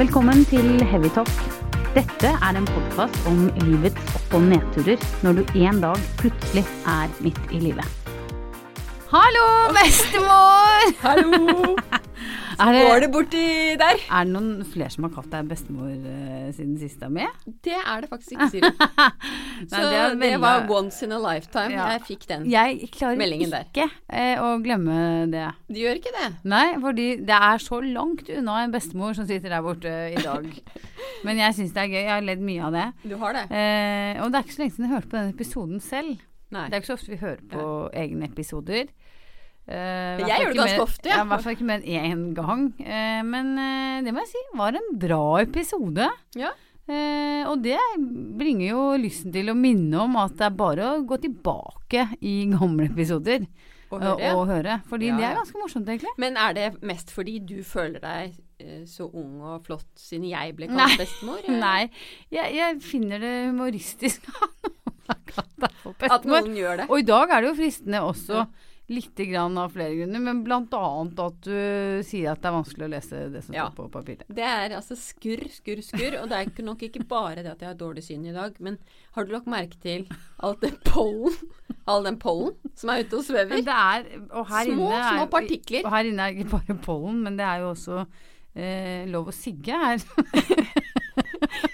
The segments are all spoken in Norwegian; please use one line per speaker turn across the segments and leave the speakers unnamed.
Velkommen til Heavytalk. Dette er en podkast om livets opp- og nedturer når du en dag plutselig er midt i livet. Hallo, bestemor!
Hallo!
Er det,
Går det borti der?
er det noen flere som har kalt deg bestemor eh, siden sist er med?
Det er det faktisk ikke, Siri. Så
Nei,
det,
er veldig-
var once in a lifetime.
Ja.
Jeg fikk den.
Jeg klarer
meldingen der.
ikke eh, å glemme det.
Du gjør ikke det?
Nei, fordi det er så langt unna en bestemor som sitter der borte i dag. Men jeg syns det er gøy. Jeg har ledd mye av det.
Du har det?
Eh, og det er ikke så lenge siden jeg hørte på den episoden selv.
Nei.
Det er ikke så ofte vi hører på egne episoder. Eh,
Men
i hvert
jeg
fall
gjør det
ikke mer-
ganske ofte, ja.
I hvert fall ikke mer enn én gang. Eh, men eh, det må jeg si var en bra episode.
Ja.
Eh, og det bringer jo lysten til å minne om at det er bare å gå tilbake i gamle episoder
Å
og,
høre.
og høre. Fordi
Ja,
det er
ja.
ganske morsomt, egentlig.
Men er det mest fordi du føler deg eh, så ung og flott siden jeg ble
Nei.
kalt bestemor? eller?
Nei, jeg, jeg finner det humoristisk
At noen gjør det?
Og i dag er det jo fristende også, lite grann av flere grunner, men blant annet at du sier at det er vanskelig å lese det som
Ja.
står på papiret.
Det er altså skurr, skurr, skurr. Og det er ikke nok ikke bare det at jeg har dårlig syn i dag, men har du lagt merke til alt det pollen? All den pollen som er ute og svever?
Men det er, og her
Små,
inne er,
små partikler.
Og her inne er ikke bare pollen, men det er jo også eh, lov å sigge her.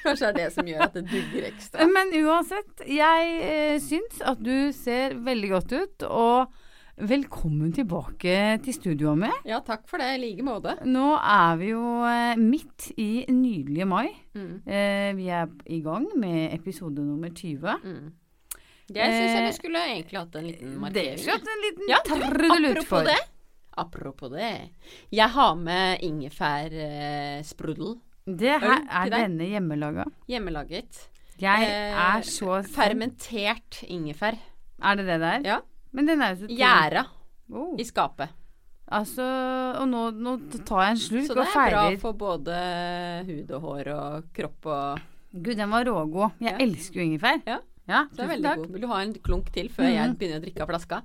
Kanskje det er det som gjør at det dugger ekstra.
Men uansett, jeg eh, syns at du ser veldig godt ut, og velkommen tilbake til studioet med.
Ja, takk for det. I like måte.
Nå er vi jo eh, midt i nydelige mai.
Mm.
Eh, vi er i gang med episode nummer 20.
Mm. Jeg syns jeg
Eh,
vi skulle egentlig hatt en liten
Det
markering.
skulle hatt en liten
Ja,
trudelutt
apropos
for.
det. Apropos det. Jeg har med eh, ingefærsprudel.
Det her
til
er
deg.
denne hjemmelaga.
Hjemmelaget.
Jeg
Eh,
er så
Fermentert ingefær.
Er det det der?
Ja.
Men den er jo så tynn.
Gjæra
Oh.
i skapet.
Altså Og nå, nå tar jeg en slurk
Så
og
det er bra
feirer.
for både hud og hår og kropp og
Gud, den var rågod. Jeg
Ja.
elsker jo ingefær.
Ja.
ja
Så det er
tusen
veldig
takk.
god. Vil du ha en klunk til før jeg begynner å drikke av flaska?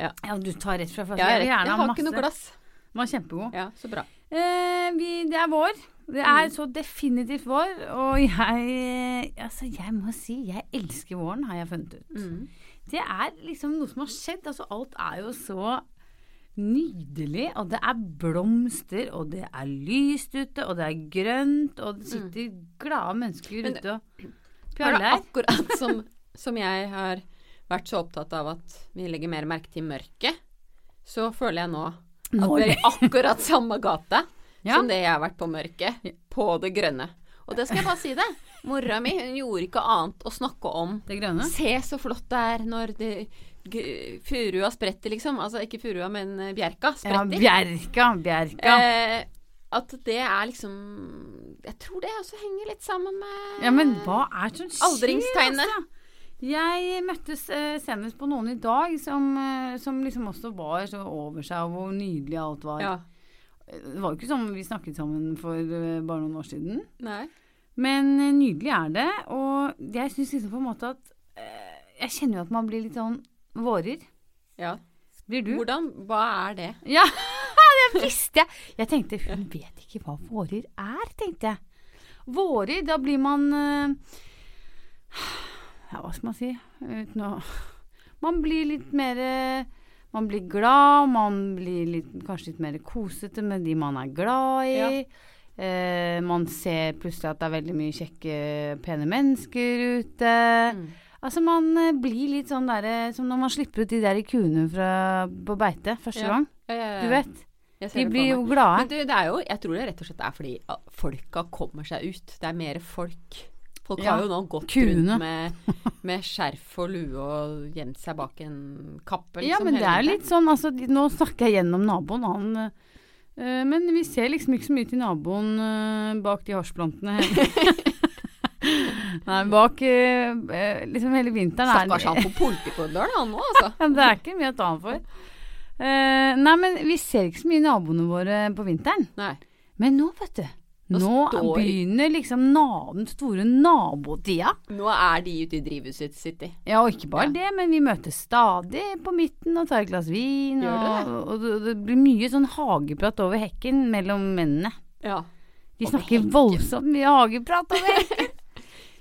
Ja, du tar rett fra flasken.
Ja,
Jeg
jeg,
vil
jeg
gjerne ha
har ikke
masse.
noe glass.
Den var kjempegod.
Ja, så bra.
Eh, vi, det er vår. Det
Mm.
er så definitivt vår. Og jeg Altså, jeg må si jeg elsker våren, har jeg funnet ut.
Mm.
Det er liksom noe som har skjedd. Altså, alt er jo så nydelig. Og det er blomster, og det er lyst ute, og det er grønt, og det sitter glade mennesker
Mm. Men-
ute og
Det er
pjaller.
akkurat som, som jeg har vært så opptatt av at vi legger mer merke til mørket, så føler jeg nå at
Nå
vi er i akkurat samme gata
Ja.
som det jeg har vært på mørket, på det grønne. Og det skal jeg bare si det. Mora mi hun gjorde ikke annet å snakke om
Det grønne.
Se så flott det er når det g- furua spretter, liksom. Altså ikke furua, men eh, bjerka
Ja,
spretter.
bjerka, bjerka.
Eh, at det er liksom Jeg tror det også henger litt sammen med
Ja, men hva er det som skjer?
Aldringstegnet.
altså? Jeg møttes eh, senest på noen i dag som, eh, som liksom også var så over seg og hvor nydelig alt var.
Ja.
Det var jo ikke sånn vi snakket sammen for eh, bare noen år siden.
Nei.
Men eh, nydelig er det, og jeg syns liksom på en måte at eh, Jeg kjenner jo at man blir litt sånn vårer.
Ja.
Blir du?
Hvordan, hva er det?
Ja, det visste jeg! Jeg tenkte hun vet ikke hva vårer er, tenkte jeg. Vårer, da blir man eh, Ja, hva skal man si? Uten å Man blir litt mer eh, man blir glad, man blir litt, kanskje litt mer kosete med de man er glad i. Eh, man ser plutselig at det er veldig mye kjekke, pene mennesker ute.
Mm.
Altså man eh, blir litt sånn derre som når man slipper ut de der kuene fra, på beite første gang. Du
Eh,
vet.
vet,
De blir jo glade.
Men du, det er jo, jeg tror det rett og slett er fordi ah, folka kommer seg ut. Det er mer folk. Folk
Ja.
har jo nå gått
Kuene.
rundt med, med skjerf og lue og gjemt seg bak en kappe.
Ja,
liksom,
men det
hele
er jo
tiden.
litt sånn altså, de- Nå snakker jeg gjennom naboen, han eh, eh, Men vi ser liksom ikke så mye til naboen eh, bak de hasjplantene. Nei, bak eh, eh, liksom hele vinteren er
Stakkars han på politikorridoren, han nå, altså.
Ja, Det er ikke mye å ta han for. Eh, nei, men vi ser ikke så mye naboene våre på vinteren.
Nei.
Men nå, vet du. Nå,
Nå står-
begynner liksom na- den store nabotida.
Nå er de ute i drivhuset sitt, de.
Ja, og ikke bare det, men vi møtes stadig på midten og tar et glass vin.
Gjør
Og, og det, det blir mye sånn hageprat over hekken mellom mennene.
Ja.
De
Over
snakker
hekken.
voldsomt mye hageprat over hekken.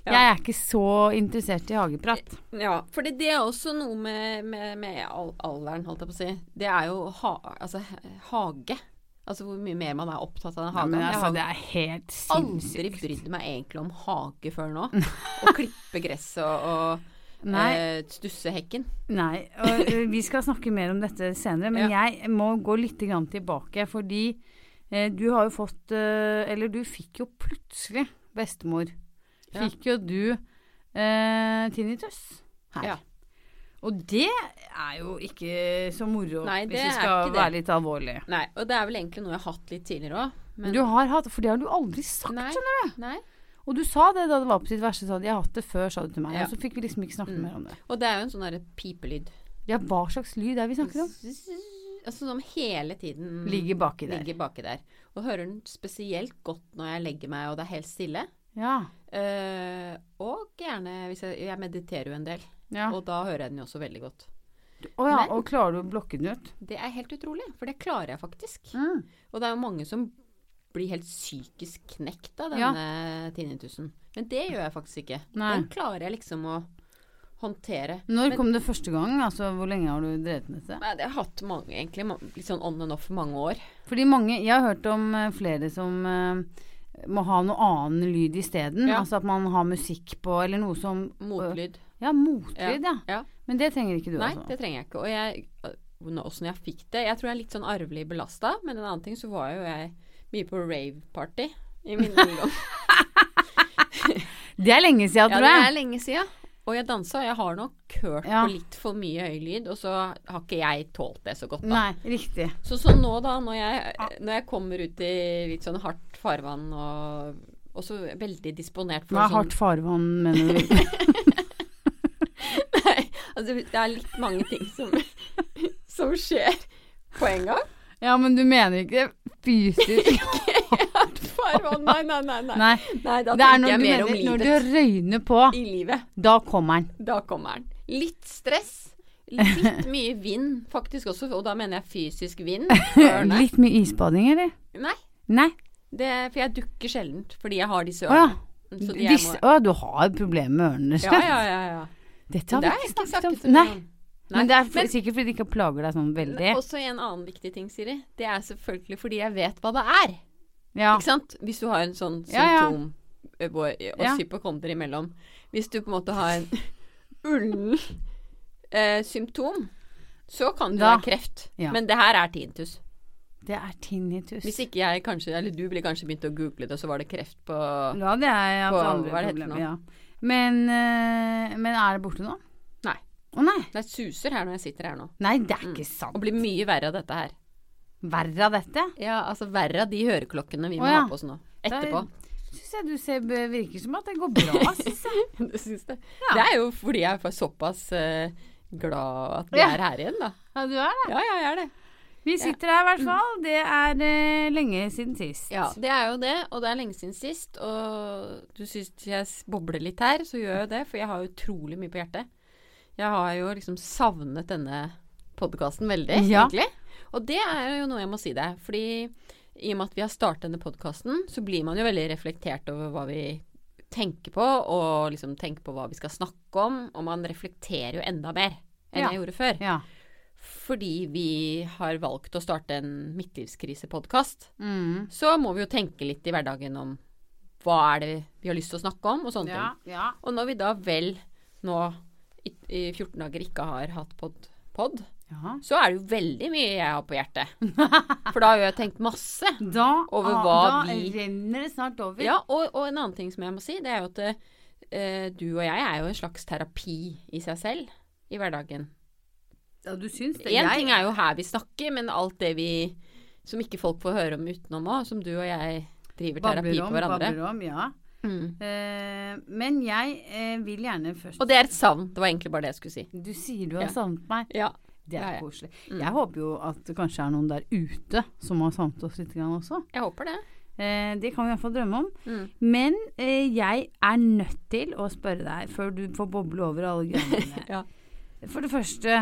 Ja.
Jeg er ikke så interessert i hageprat.
Ja, for det er også noe med, med, med al- alderen, holdt jeg på å si. Det er jo ha, altså, hage. Altså hvor mye mer man er opptatt av den
Ja,
hagen.
men altså, det
jeg
er helt
har aldri
sinnssykt.
brydd meg egentlig om hage før nå. Å klippe gresset og, og
Nei.
eh, stusse hekken.
Nei, og ø, vi skal snakke mer om dette senere, men jeg må gå litt grann tilbake, fordi eh, du har jo fått eh, Eller du fikk jo plutselig, bestemor,
Ja.
fikk jo du eh, tinnitus her.
Ja.
Og det er jo ikke så moro,
Nei, det
hvis vi
er
skal
ikke det.
være litt alvorlige.
Nei, og det er vel egentlig noe jeg har hatt litt tidligere òg. Men
Du har hatt, for det har sånn, du aldri sagt,
Nei.
skjønner du.
nei.
Og du sa det da det var på sitt verste, sa du. Jeg har hatt det før, sa du til meg.
Ja.
Og så fikk vi liksom ikke snakke
Mm.
mer om det.
Og det er jo en sånn derre pipelyd.
Ja, hva slags lyd er det vi snakker om?
Altså som hele tiden
Ligger baki der.
ligger baki der. Og hører den spesielt godt når jeg legger meg og det er helt stille.
Ja.
Eh, og gjerne hvis jeg, jeg mediterer jo en del,
ja.
og da hører jeg den jo også veldig godt.
Å ja,
Men-
og klarer du å blokke den ut?
Det er helt utrolig, for det klarer jeg faktisk. Og det er jo mange som blir helt psykisk knekt av
Ja.
denne tinnitusen. Men det gjør jeg faktisk ikke.
Nei.
Den klarer jeg liksom å håndtere.
Når
Men-
kom det første gang? Altså, hvor lenge har du drevet med dette?
Nei, det har jeg hatt mange, egentlig. ma- Litt sånn on and off mange år.
Fordi mange Jeg har hørt om eh, flere som eh, må ha noe annen lyd isteden.
Ja.
Altså at man har musikk på, eller noe som
Motlyd.
Ja, motlyd, ja.
Ja.
Men det trenger ikke du,
Nei,
altså.
det trenger jeg ikke. Og jeg, åssen jeg fikk det Jeg tror jeg er litt sånn arvelig belasta, men en annen ting så var jo jeg mye på rave-party i min ungdom.
Det er lenge siden,
Ja,
tror
det
jeg.
er lenge siden. Og jeg dansa, og jeg har nok hørt
Ja.
på litt for mye høy lyd, og så har ikke jeg tålt det så godt, da.
Nei, riktig.
Så, så nå, da, når jeg, når jeg kommer ut i litt sånn hardt farvann og også veldig disponert for
Hva er
sånn
hardt farvann, mener du?
altså, Det er litt mange ting som, som skjer på en gang.
ja, men du mener ikke fysisk?
Farvann, nei, nei, nei. nei.
Nei.
Nei, da
Det er
tenker
når
jeg
du,
mer om
mener, når
livet.
du røyner på,
I livet.
da kommer den.
Da kommer den. Litt stress. Litt mye vind, faktisk også, og da mener jeg fysisk vind. Ørene.
Litt mye isbading, eller?
Nei,
Nei.
det, for jeg dukker sjelden fordi jeg har disse
Å ja.
ørene. Så de
Disse,
jeg må,
å, du har problemer med ørene,
ja,
slett.
ja, ja, ja.
Dette har
Det
vi
har jeg
ikke snakket om.
så mye
Nei,
om. Nei,
men det er f-
men-
sikkert fordi de ikke plager deg sånn veldig.
Også en annen viktig ting, Siri. Det er selvfølgelig fordi jeg vet hva det er.
Ja.
Ikke sant? Hvis du har en sånn
Ja, ja.
symptom ø, hvor- og
Ja.
hypokonder imellom. Hvis du på en måte har en ullen eh, symptom, så kan du
Da.
ha kreft.
Ja.
Men det her er tinnitus.
Det er tinnitus.
Hvis ikke jeg kanskje, eller du ville kanskje begynt å google det, så var det kreft på
Ja, det er jeg
På-
hatt andre
hva er det heter
problemer.
nå?
Ja. Men, eh, men er det borte nå?
Nei. Mm.
Å nei.
Det suser her når jeg sitter her nå.
Nei, det er ikke
Og
sant.
blir mye verre av dette her.
Verre av dette.
Ja, altså verre av de høreklokkene vi må
Å, ja.
ha på oss nå. Etterpå.
Syns jeg du ser, virker som at det går bra, syns jeg.
Du syns det? Det er jo fordi jeg er såpass eh, glad at vi
Ja.
er her igjen, da.
Ja, du er det.
Ja, ja, jeg er det.
Vi sitter her i hvert fall. Det er eh, lenge siden sist.
Ja, det er jo det, og det er lenge siden sist. Og du syns jeg s- bobler litt her, så gjør jeg jo det, for jeg har jo utrolig mye på hjertet. Jeg har jo liksom savnet denne podkasten veldig,
Ja.
egentlig. Og det er jo noe jeg må si deg, fordi i og med at vi har startet denne podkasten, så blir man jo veldig reflektert over hva vi tenker på, og liksom tenker på hva vi skal snakke om, og man reflekterer jo enda mer enn
Ja.
jeg gjorde før.
Ja.
Fordi vi har valgt å starte en midtlivskrisepodkast
Mm.
så må vi jo tenke litt i hverdagen om hva er det vi har lyst til å snakke om, og sånne
ja. ja.
ting. Og når vi da vel nå i, i 14 dager ikke har hatt pod, pod,
ja.
så er det jo veldig mye jeg har på hjertet. For da har jo jeg tenkt masse.
Da,
Over
ah,
hva
da
vi-
renner det snart over.
Ja, og, og en annen ting som jeg må si, det er jo at eh, du og jeg er jo en slags terapi i seg selv i hverdagen.
Ja, du syns det.
Én
Jeg-
ting er jo her vi snakker, men alt det vi som ikke folk får høre om utenom òg, som du og jeg driver terapi
babler
på
om,
hverandre.
babler om, ja.
Mm.
Eh, men jeg eh, vil gjerne først
Og det er et savn. Det var egentlig bare det jeg skulle si.
Du sier du har
Ja.
savnet meg.
Ja.
Det er
Ja, Mm. ja.
koselig. Jeg håper jo at det kanskje er noen der ute som har savnet oss litt grann også.
Jeg håper det.
Eh, det kan vi iallfall drømme om.
Mm.
Men eh, jeg er nødt til å spørre deg, før du får boble over alle greiene dine
Ja.
For det første,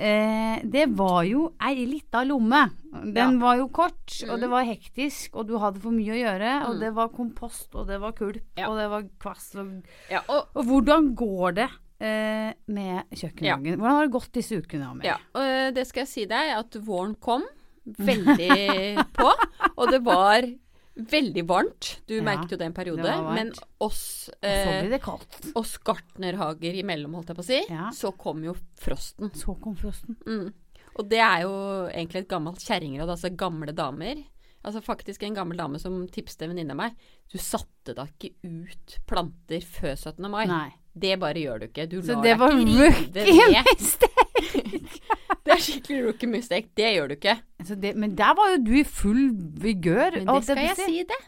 eh, det var jo ei lita lomme. Den
Ja.
var jo kort, og
Mm.
det var hektisk, og du hadde for mye å gjøre.
Mm.
Og det var kompost, og det var kulp,
Ja.
og det var kvass. Og,
Ja, og,
og hvordan går det eh, med kjøkkenhagen? Hvordan har det gått disse ukene? Amel?
ja, og eh, det skal jeg si deg, at våren kom veldig på. Og det var veldig varmt. Du
Ja,
merket jo det en periode.
det var varmt.
men oss,
Og så
eh,
blir det kaldt.
oss gartnerhager imellom, holdt jeg på å si,
Ja.
så kom jo frosten.
Så kom frosten.
Mm. Og det er jo egentlig et gammelt kjerringråd, altså gamle damer. Altså faktisk en gammel dame som tipste en venninne av meg. Du satte da ikke ut planter før 17. mai.
Nei.
Det bare gjør du ikke. Du
Så
lar
det
deg
var
ikke rive
rookie
med.
mistake.
Det er skikkelig rookie mistake. Det gjør du ikke.
Altså det, men der var jo du i full vigør.
Men
Og
det skal
du
jeg
sier-
si, det.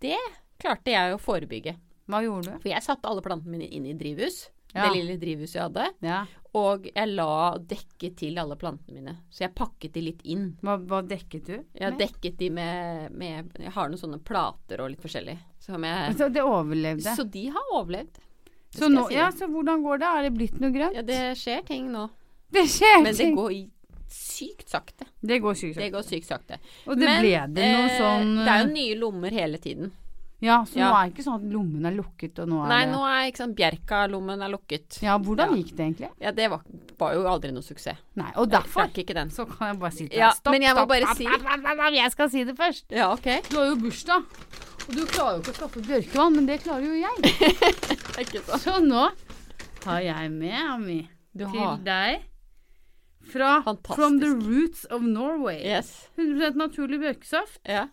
Det klarte jeg å forebygge.
Hva gjorde du?
For jeg satte alle plantene mine inn i drivhus.
Ja.
Det lille drivhuset jeg hadde.
Ja.
Og jeg la dekke til alle plantene mine. Så jeg pakket de litt inn.
Hva, hva dekket du?
Jeg
med?
dekket de med, med Jeg har noen sånne plater og litt forskjellig. Som jeg,
Så det overlevde.
så de har overlevd. Det
Så,
skal
nå,
jeg si
ja,
deg.
så hvordan går det? Er det blitt noe grønt?
ja, det skjer ting nå.
det skjer
Men det
ting.
går i sykt sakte.
det går sykt
Det
sakte.
går sykt sakte.
Og det
Men,
ble det noe
eh,
sånn
Det er jo nye lommer hele tiden.
Ja, så nå
ja.
er det ikke sånn at lommen er lukket, og nå er
Nei,
det
nå er ikke sant Bjerka-lommen er lukket.
Ja, hvordan
Ja.
gikk det egentlig?
Ja, det var, var jo aldri noe suksess.
Nei, og
Jeg
derfor
Trakk ikke den.
så kan jeg bare si det.
Ja,
stopp,
men jeg må
stopp,
bare
stopp,
si-
stopp, stopp, stopp, Jeg skal si det først.
Ja, OK.
Du har jo bursdag, og du klarer jo ikke å skaffe bjørkevann, men det klarer jo jeg.
Ikke sånn. sant.
Så nå har jeg med, Ami,
Du
til
har
deg fra
Fantastisk.
From the Roots of Norway.
Yes.
100 naturlig bjørkesaft.
Ja.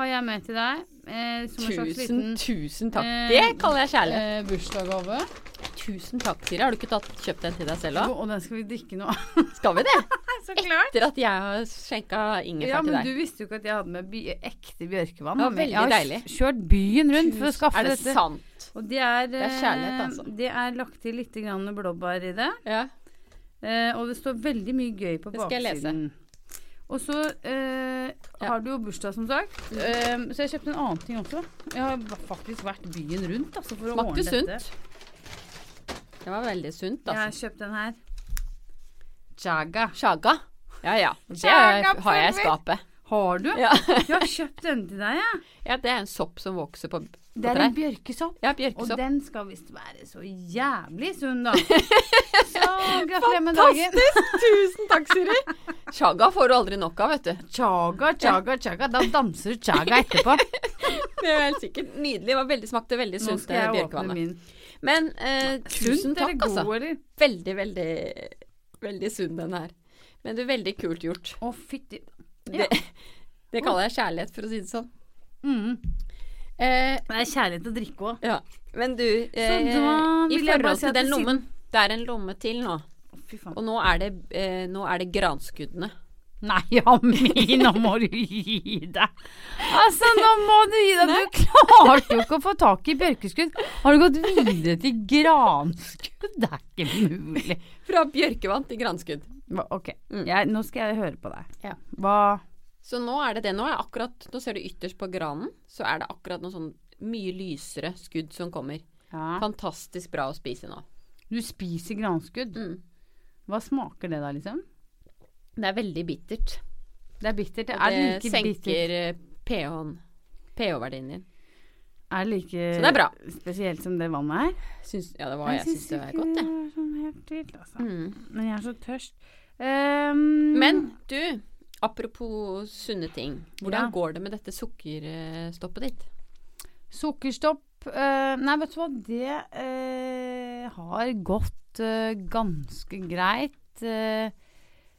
har jeg med til deg. Eh, som en slags
Tusen,
liten
tusen takk.
eh,
Det kaller jeg kjærlighet.
eh, bursdagsgave.
Tusen takk, Siri. Har du ikke tatt, kjøpt den til deg selv òg?
Og den skal vi drikke nå.
Skal vi det?
Så klart.
Etter at jeg har skjenka ingefær
Ja,
til
men
deg.
du visste jo ikke at jeg hadde med by ekte bjørkevann.
Ja,
da, men
veldig
jeg har
deilig.
kjørt byen rundt for å skaffe
er det
dette.
sant?
Og det er,
er
eh,
kjærlighet, altså.
Det er lagt til litt grann blåbær i det.
Ja.
Eh, og det står veldig mye gøy på
Det skal jeg lese.
baksiden. Og så eh,
Ja. Ehm,
har du jo bursdag, som sagt. Eh, så jeg kjøpte en annen ting også. Jeg har faktisk vært byen rundt altså, for å
Smakte
ordne dette.
sunt. Det var veldig sunt,
Jeg
altså.
har kjøpt den her. Jaga.
Sjaga. Ja ja. Det
Sjaga
har jeg i
pulver.
skapet.
Har du?
Ja.
Jeg har kjøpt denne til deg, jeg.
ja, det er en sopp som vokser på, på
Det er en
trær.
bjørkesopp.
Ja,
Og
bjørkesopp.
den skal visst være så jævlig sunn, da. Så gratulerer med dagen.
Tusen takk, Siri. Sjaga får du aldri nok av, vet du.
Chaga, chaga, chaga. Da danser du chaga etterpå.
Det er helt sikkert nydelig. Det var veldig, smakte veldig
Nå
sunt, det
skal jeg åpne
bjørkevannet.
min.
Men eh, tusen takk, altså.
eller?
Veldig, veldig, veldig sunn den her. Men det er veldig kult gjort.
Å, fytti. Ja.
Det, det kaller jeg kjærlighet, for å si det sånn.
Mm.
Eh,
Det er kjærlighet til å drikke òg.
ja. Men du, eh,
da
i
vil jeg bare
forhold
si at
til den
det siden-
lommen Det er en lomme til nå.
Fy faen.
Og nå er det, eh, nå er det granskuddene.
Nei, Ami, nå må du gi deg. Altså, nå må du gi deg. Du klarte jo ikke å få tak i bjørkeskudd. Har du gått videre til granskudd? Det er ikke mulig.
Fra bjørkevann til granskudd.
Hva- Ok,
Mm.
jeg, nå skal jeg høre på deg.
Ja.
Hva
Så nå er det det. Nå, er akkurat, nå ser du ytterst på granen, så er det akkurat noe sånn mye lysere skudd som kommer.
ja.
Fantastisk bra å spise nå.
Du spiser granskudd.
Mm.
Hva smaker det da, liksom?
Det er veldig bittert.
Det er bittert. Det
Og
er
det
like bittert.
senker eh, pH-en. pH-verdien din.
Er like
Så det er bra.
spesielt som det vannet her?
Syns, ja, det var jeg syns det var godt,
det
jeg.
var sånn helt vilt, altså.
Mm.
Men jeg er så tørst. Ehm,
Men du, apropos sunne ting. Hvordan
Ja.
går det med dette sukkerstoppet ditt?
Sukkerstopp eh, Nei, vet du hva, det eh, har gått eh, ganske greit. Eh,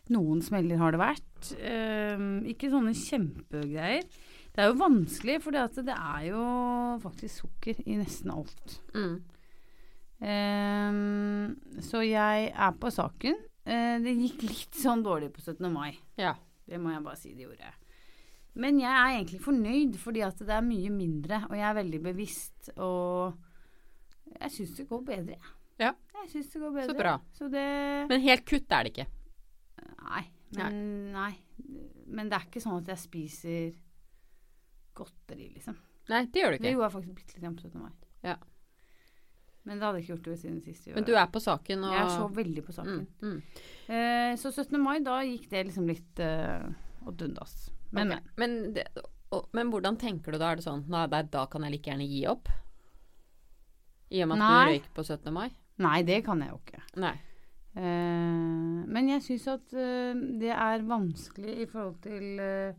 noen smeller har det vært. Eh, ikke sånne kjempegreier. Det er jo vanskelig, for det er jo faktisk sukker i nesten alt.
Mm.
Eh, så jeg er på saken. Eh, det gikk litt sånn dårlig på 17. mai.
Ja.
Det må jeg bare si det gjorde. Men jeg er egentlig fornøyd, fordi at det er mye mindre, og jeg er veldig bevisst, og jeg syns det går bedre, jeg.
Ja.
Jeg syns det går bedre.
Så bra.
Så det
Men helt kutt er det ikke.
Nei. Men, nei. Men det er ikke sånn at jeg spiser godteri, liksom.
Nei, det gjør du
Det
ikke.
gjorde jeg faktisk bitte litt igjen på 17. mai.
Ja.
Men det hadde jeg ikke gjort det siden sist. vi
Men
var-
du er på saken og
Jeg er så veldig på saken.
mm, mm.
Eh, så 17. mai, da gikk det liksom litt eh, åt undas. Men,
Ok, men, det, og, men hvordan tenker du da? Er det sånn nei, nei, da kan jeg like gjerne gi opp? I og med at du
Nei.
røyk på 17. mai?
men nei, det kan jeg jo ikke.
Nei.
Eh, men jeg syns at eh, det er vanskelig i forhold til eh,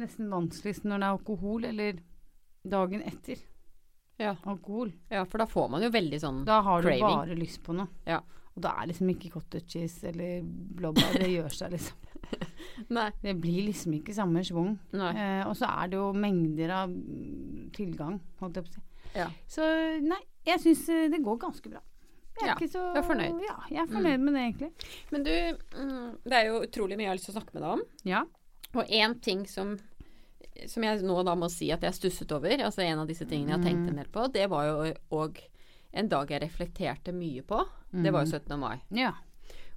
Nesten vanskeligst når det er alkohol, eller dagen etter
Ja.
alkohol.
ja, for da får man jo veldig sånn
Da har du
Craving.
bare lyst på noe.
Ja.
Og da er liksom ikke cottage cheese eller blåbær. Det gjør seg liksom.
Nei.
Det blir liksom ikke samme schwung.
nei.
Eh, og så er det jo mengder av mm, tilgang, holdt jeg på å si.
Ja.
Så nei, jeg syns eh, det går ganske bra. Jeg er
Ja,
ikke så
du er fornøyd. Mm.
Ja, jeg er fornøyd med det, egentlig.
Men du, mm, det er jo utrolig mye jeg har lyst til å snakke med deg om.
Ja.
Og én ting som, som jeg nå da må si at jeg stusset over, altså en av disse tingene jeg har tenkt en del på, det var jo òg en dag jeg reflekterte mye på. Det
Mm.
var jo 17. mai.
ja.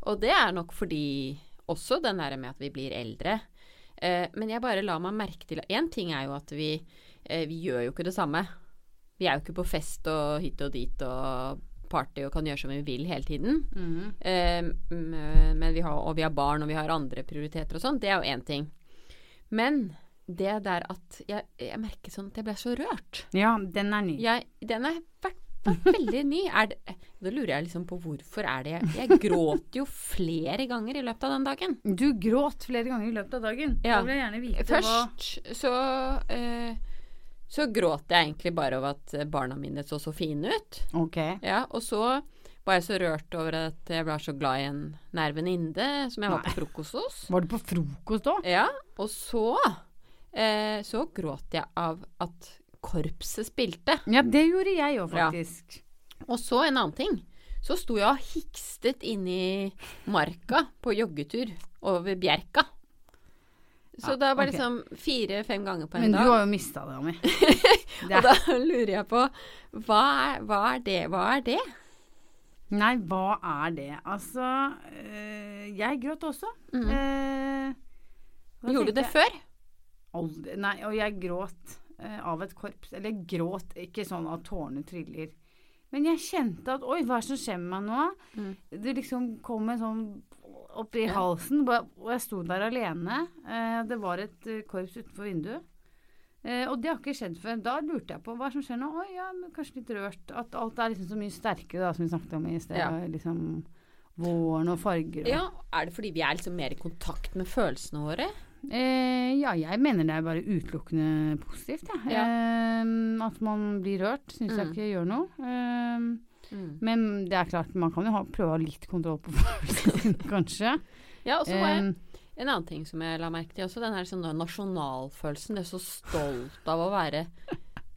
Og det er nok fordi også den der med at vi blir eldre. Eh, men jeg bare la meg merke til Én ting er jo at vi, eh, vi gjør jo ikke det samme. Vi er jo ikke på fest og hit og dit og party og kan gjøre som vi vil hele tiden. Eh, mm, men vi har, og vi har barn og vi har andre prioriteter og sånn. Det er jo én ting. Men det der at jeg, jeg merker sånn at jeg ble så rørt.
ja, den er ny.
Jeg, den er vært, vært veldig ny. Er det, da lurer jeg liksom på hvorfor er det Jeg gråt jo flere ganger i løpet av den dagen.
Du gråt flere ganger i løpet av dagen.
Ja.
Da vil jeg gjerne vite hva
Først så eh, så gråt jeg egentlig bare over at barna mine så så fine ut.
Ok.
Ja, og så var jeg så rørt over at jeg ble så glad i en nær venninne som jeg var på frokost hos.
Var det på frokost òg?
Ja, og så eh, så gråt jeg av at korpset spilte.
Ja, det gjorde jeg òg,
Ja.
faktisk.
Og så en annen ting. Så sto jeg og hikstet inni marka på joggetur over Bjerka. Så
Ja,
da var
ok.
det liksom fire-fem ganger på en
Men du
dag.
har jo mista det, Ami. Det
Og
er,
da lurer jeg på hva er, hva er det? Hva er det?
nei, hva er det? Altså øh, Jeg gråt også.
Mhm.
Eh, hva
Gjorde
tenkte
du det
jeg?
før?
Aldri, nei, og jeg gråt eh, av et korps. Eller jeg gråt ikke sånn at tårene triller. Men jeg kjente at oi, hva er det som skjer med meg nå?
Mm.
Det liksom kom en sånn opp i
Ja.
halsen, bare- og jeg sto der alene. Eh, det var et eh, korps utenfor vinduet. Eh, og det har ikke skjedd før. Da lurte jeg på hva er det som skjer nå. Oi, ja, men kanskje litt rørt. At alt er liksom så mye sterkere, da, som vi snakket om i sted.
Ja.
og Liksom våren og farger og
Ja, Er det fordi vi er liksom mer i kontakt med følelsene våre?
Eh, ja, jeg mener det er bare utelukkende positivt, jeg.
Ja.
Eh, at man blir rørt, syns jeg
Mm.
ikke gjør noe. Eh, men det er klart, man kan jo ha, prøve å ha litt kontroll på følelsene sine, kanskje.
Ja, og så var jeg
Eh,
En annen ting som jeg la merke til også, den her sånn nasjonalfølelsen. Det er så stolt av å være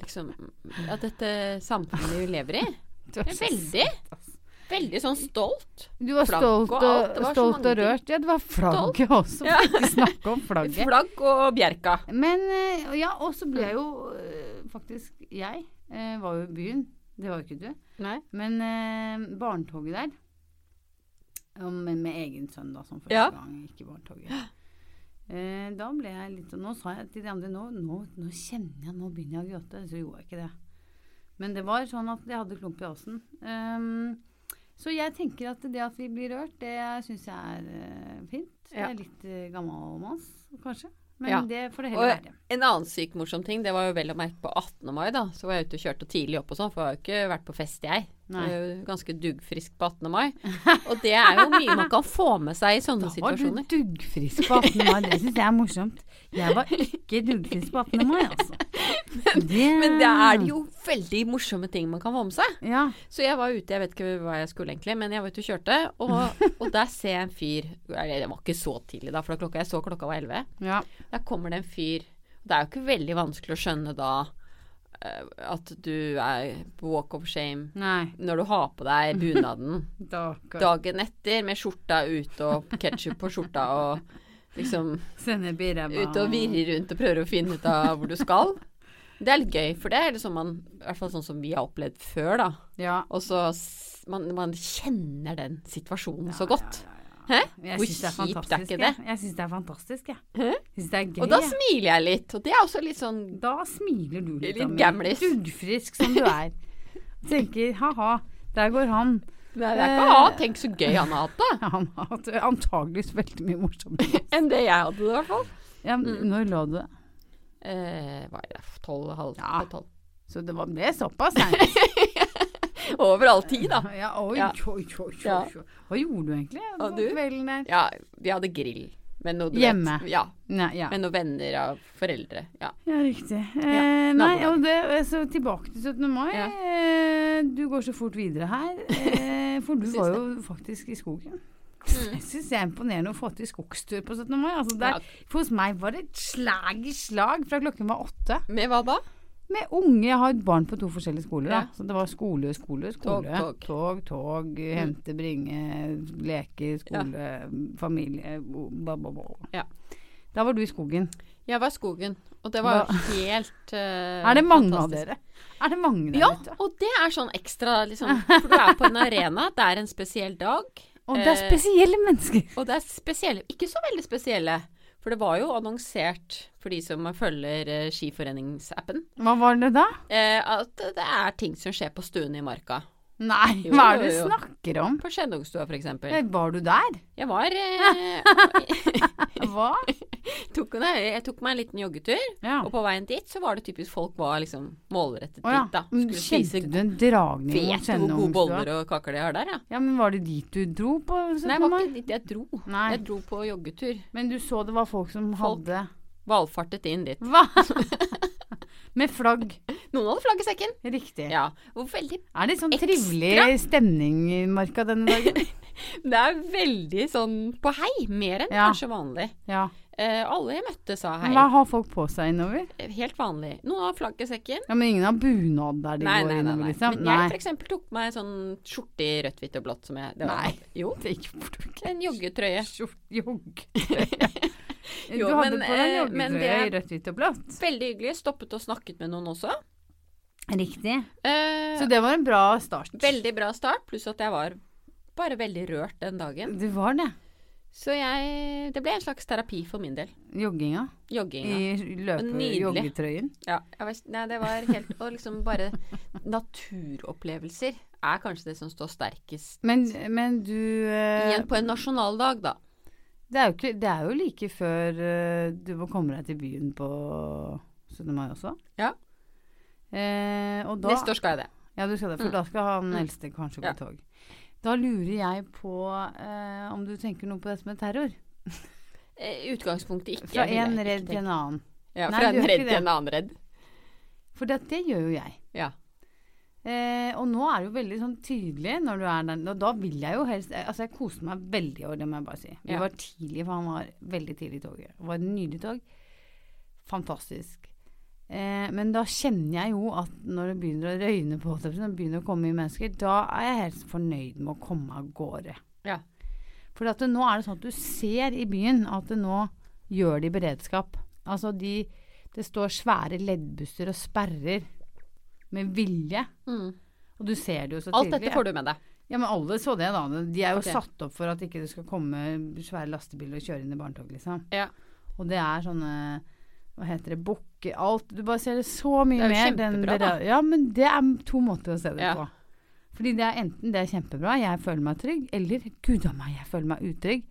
liksom Ja, dette samfunnet vi lever i.
du er
Jeg er
så-
veldig, veldig sånn stolt.
Du var
flagg
stolt
og
og,
alt, det var så
stolt og
mange ting.
rørt. Ja, det var flagget også.
Ja.
Vi snakker om flagget.
Flagg og bjerka.
Men eh, ja, og så ble jeg jo eh, faktisk Jeg eh, var jo i byen. Det var jo ikke du.
Nei.
Men eh, barnetoget der ja, Men med egen sønn, da, som første
Ja.
gang gikk i barnetoget. Eh, da ble jeg litt sånn Nå sa jeg til de andre nå, nå, nå kjenner jeg Nå begynner jeg å gråte. Så gjorde jeg ikke det. Men det var sånn at jeg hadde klump i halsen. Ehm, så jeg tenker at det at vi blir rørt, det syns jeg er eh, fint.
Ja.
Jeg er litt eh, gammelmanns, kanskje. Men
Ja.
det får det
Og-
heller være.
En annen sykt morsom ting, det var jo vel å merke på 18. mai, da. Så var jeg ute og kjørte tidlig opp og sånn, for jeg har jo ikke vært på fest, jeg.
Nei.
Jeg er jo Ganske duggfrisk på 18. mai. Og det er jo mye man kan få med seg i sånne
Da var du
situasjoner.
duggfrisk på 18. mai. Det syns jeg er morsomt. Jeg var ikke duggfrisk på 18. mai, altså.
Men det er jo veldig morsomme ting man kan få med seg.
Ja.
Så jeg var ute, jeg vet ikke hva jeg skulle egentlig, men jeg var ute og kjørte. Og, og der ser jeg en fyr Eller det var ikke så tidlig, da, for da klokka, jeg så klokka var 11.
ja.
Der kommer det en fyr. Det er jo ikke veldig vanskelig å skjønne da eh, at du er på walk of shame
Nei.
når du har på deg bunaden
Da,
dagen etter med skjorta ute og ketsjup på skjorta og liksom
sender vi ræva
ute og virrer rundt og prøver å finne ut av hvor du skal. Det er litt gøy, for det er liksom man, i hvert fall sånn som vi har opplevd før, da.
Ja.
Og så s- man, man kjenner den situasjonen så godt.
Ja, ja, ja.
Hæ?
Jeg
Hvor
syns det er
kjipt er
fantastisk,
ikke
jeg.
det?
Jeg syns det er fantastisk, jeg.
Hæ?
Syns det er gøy.
Og da
jeg.
smiler jeg litt, og det er også litt sånn
Da smiler du litt.
Litt
Amund.
gamlis.
Duggfrisk som du er. tenker ha-ha, der går han.
Nei, det er ikke å ha. Tenk så gøy han har hatt det.
Han har hatt antageligvis veldig mye morsommere.
Enn det jeg hadde det, i hvert fall.
Ja, men
Mm.
Når lå du?
Eh, hva er det, tolv, halv
Ja.
på tolv.
Så det var ble såpass, jeg.
Over all tid, da.
Ja, oi,
Ja.
oi, oi, oi,
Ja.
oi. Hva gjorde du egentlig eh,
Og
på
du?
kvelden der?
Ja, vi hadde grill. Med noe, du
Hjemme.
Vet, ja,
Nei, ja.
med noen venner av foreldre. Ja.
ja, riktig. Eh, nei,
nabolag.
og det, og så tilbake til 17. mai.
Ja.
Eh, du går så fort videre her, eh, for du
Syns
var jo faktisk i skogen. Jeg syns det er imponerende å få til skogstur på 17. mai. Altså der,
Mm. Ja.
For hos meg var det et slag i slag fra klokken var åtte.
Med hva da?
Med unge Jeg har et barn på to forskjellige skoler.
Ja.
Da. Så det var skole, skole, skole.
Tog, Mm. tog.
tog, tog, hente, bringe, leke, skole, familie bla, bla, bla.
Ja.
Da var du i skogen.
Jeg var i skogen, og det var jo helt eh,
Er det mange
fantastisk.
av dere? Er det mange der
Ja,
ute?
og det er sånn ekstra, liksom. For du er på en arena, det er en spesiell dag.
Og det er
eh,
spesielle mennesker.
Og det er spesielle, ikke så veldig spesielle. For det var jo annonsert, for de som følger eh, skiforeningsappen,
Hva var det da?
eh, at det er ting som skjer på stuene i marka.
Nei,
Jo,
hva er det du
jo, jo.
snakker om?
På Skjendungstua, for eksempel.
Eh, Var du der?
Jeg var eh,
Hva?
tok, nei, Jeg tok meg en liten joggetur,
Ja.
og på veien dit så var det typisk folk var liksom målrettet
Å ja.
dit, da.
Men
Skulle
Kjente
spise
du en dragning mot
Vet du hvor gode
Skjennungstua?
boller og kaker de har der, ja?
Ja, men var det dit du dro på 17.
Nei, det var
mai?
ikke dit jeg dro.
Nei.
Jeg dro på joggetur.
Men du så det var folk som
Folk.
hadde
Valfartet inn dit.
Hva? Med flagg.
Noen hadde flagg i sekken.
Riktig.
Ja. Og veldig
Er det sånn
Ekstra.
trivelig stemning i marka denne dagen?
Det er veldig sånn på hei, mer enn
Ja.
kanskje vanlig.
Ja.
Eh, alle jeg møtte sa hei.
Men Hva har folk på seg innover?
Helt vanlig. Noen har flagg i sekken.
Ja, Men ingen har bunad der de
Nei,
går
nei, nei.
innover,
nei.
liksom?
Men jeg for eksempel tok meg sånn skjorte i rødt, hvitt og blått som jeg det var-
Nei.
Jo.
det gjorde du ikke.
En joggetrøye.
Skjort- jogg.
Jo,
du hadde
men,
på deg
eh, men
joggetrøye i rødt, hvitt og blått.
Veldig hyggelig. Stoppet og snakket med noen også.
Riktig.
Eh,
Så det var en bra start.
veldig bra start, pluss at jeg var bare veldig rørt den dagen.
Det var det.
Så jeg Det ble en slags terapi for min del.
Jogginga.
Jogginga.
I løpe
Nydelig.
joggetrøyen.
Ja, jeg var, nei, det var helt Og liksom bare Naturopplevelser er kanskje det som står sterkest
Men, men du eh,
igjen på en nasjonaldag, da.
Det er jo, ikke, det er jo like før eh, du må komme deg til byen på 17. mai også.
Ja.
Eh, og da,
Neste år skal jeg det.
Ja, du skal det, for
Mm.
da skal han
Mm.
eldste kanskje gå
Ja.
i tog. Da lurer jeg på eh, om du tenker noe på dette med terror?
Eh, Utgangspunktet ikke.
Fra
vil jeg
en
ikke
redd
tenke.
til en annen.
Ja,
Nei,
fra
du
en
gjør
redd
ikke
til
det.
en annen redd.
For det, det gjør jo jeg.
Ja.
Eh, og nå er det jo veldig sånn tydelig når du er der. Og da vil jeg jo helst Altså, jeg koste meg veldig over det, må jeg bare si. Vi
Ja.
var tidlig, for han var veldig tidlig i toget. Det var et nydelig tog. Fantastisk. Eh, men da kjenner jeg jo at når det begynner å røyne på, holdt jeg på å si, når det begynner å komme mye mennesker, da er jeg helst fornøyd med å komme av gårde.
Ja.
For at det, nå er det sånn at du ser i byen at det nå gjør de beredskap. Altså de Det står svære leddbusser og sperrer med vilje.
Mm.
Og du ser det jo så
Alt
tidlig.
dette får du med deg.
Ja, men alle så det, da. De er jo
Ok.
satt opp for at ikke det skal komme svære lastebiler og kjøre inn i barnetog, liksom.
Ja.
Og det er sånne hva heter det, bukker Alt. Du bare ser det så mye
Det er jo
mer. den
kjempebra, da.
bera- Ja, men det er to måter å se det
Ja.
på. Fordi det er enten det er kjempebra, jeg føler meg trygg, eller gud a meg, jeg føler meg utrygg.